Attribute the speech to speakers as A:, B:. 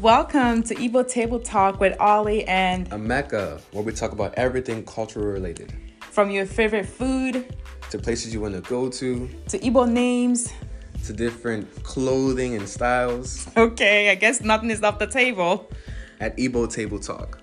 A: Welcome to Evil Table Talk with Ollie and
B: A Mecca, where we talk about everything cultural related,
A: from your favorite food
B: to places you want to go to,
A: to Igbo names.
B: to different clothing and styles
A: Okay, I guess nothing is off the table.
B: at Ebo Table Talk.